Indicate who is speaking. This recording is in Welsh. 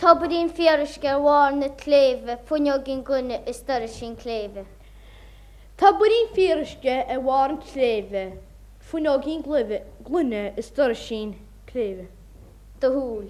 Speaker 1: Tá budín fiaris gur bháir na tléh puneogin gunne is tar sin léve.
Speaker 2: Tá budín fírisce a bhhain léve, Funog ín glunne is tar sin léve.
Speaker 1: Tá húl.